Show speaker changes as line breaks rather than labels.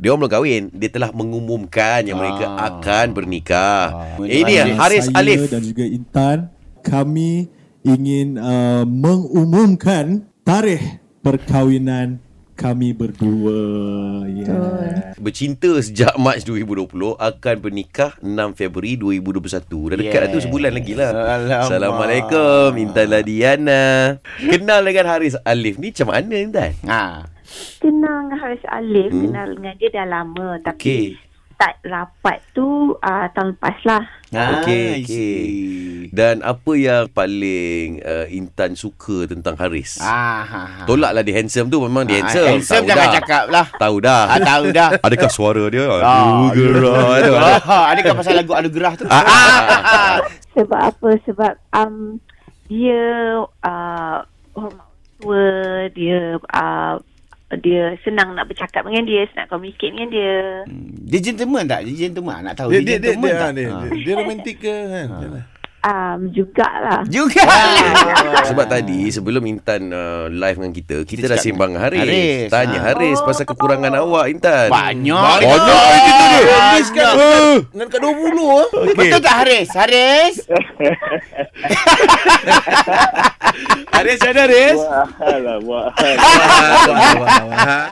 dia orang belum kahwin, dia telah mengumumkan yang mereka
Ah.
akan bernikah.
Ah.
Eh, ini
Alif.
Haris
saya
Alif.
dan juga Intan kami ingin uh, mengumumkan tarikh perkahwinan kami berdua. Ya.
Betul.
Bercinta sejak Mac 2020 akan bernikah 6 Februari 2021. Dah dekat yeah. tu
Yes.
sebulan lagi lah.
Alamak.
Assalamualaikum Intan Ladiana. Kenal dengan Haris Alif ni macam mana Intan?
Ha.
Kenal dengan Haris Alif
Hmm.
hmm. Kenal dengan dia dah lama Tapi
Okey.
start rapat tu uh, Tahun lepas lah
Okey, okey.
I see.
Dan apa yang paling uh, Intan suka tentang Haris? Ah.
Ah, ha, ha.
Tolaklah dia handsome tu memang dia
Ah,
handsome.
Handsome
Tahu
jangan
dah.
cakap lah.
Tahu dah.
Ah, tahu dah.
Adakah suara dia?
Ah,
You gerah tu.
Ah, Adakah pasal lagu Anugerah tu?
Ah, ah, ah.
Sebab apa Sebab um, Dia uh, Hormat tua Dia uh, Dia senang nak bercakap dengan dia Senang communicate dengan dia
Hmm, Dia gentleman tak? Dia gentleman nak tahu
Dia dia dia dia,
tak?
dia,
Ah.
dia, dia romantik ke kan?
um, Jugalah
Juga
Sebab tadi sebelum Intan uh, live dengan kita, kita,
Kita
dah
cakap
sembang dengan Haris.
Haris,
Tanya
ah.
Haris pasal kekurangan awak Intan.
Banyak
Banyak itu dia.
Haris kan dengan kat 20 ah.
Betul tak Haris? Haris?
Haris ada Haris.
Wah, alah, wah.
Wah, wah, wah, wah.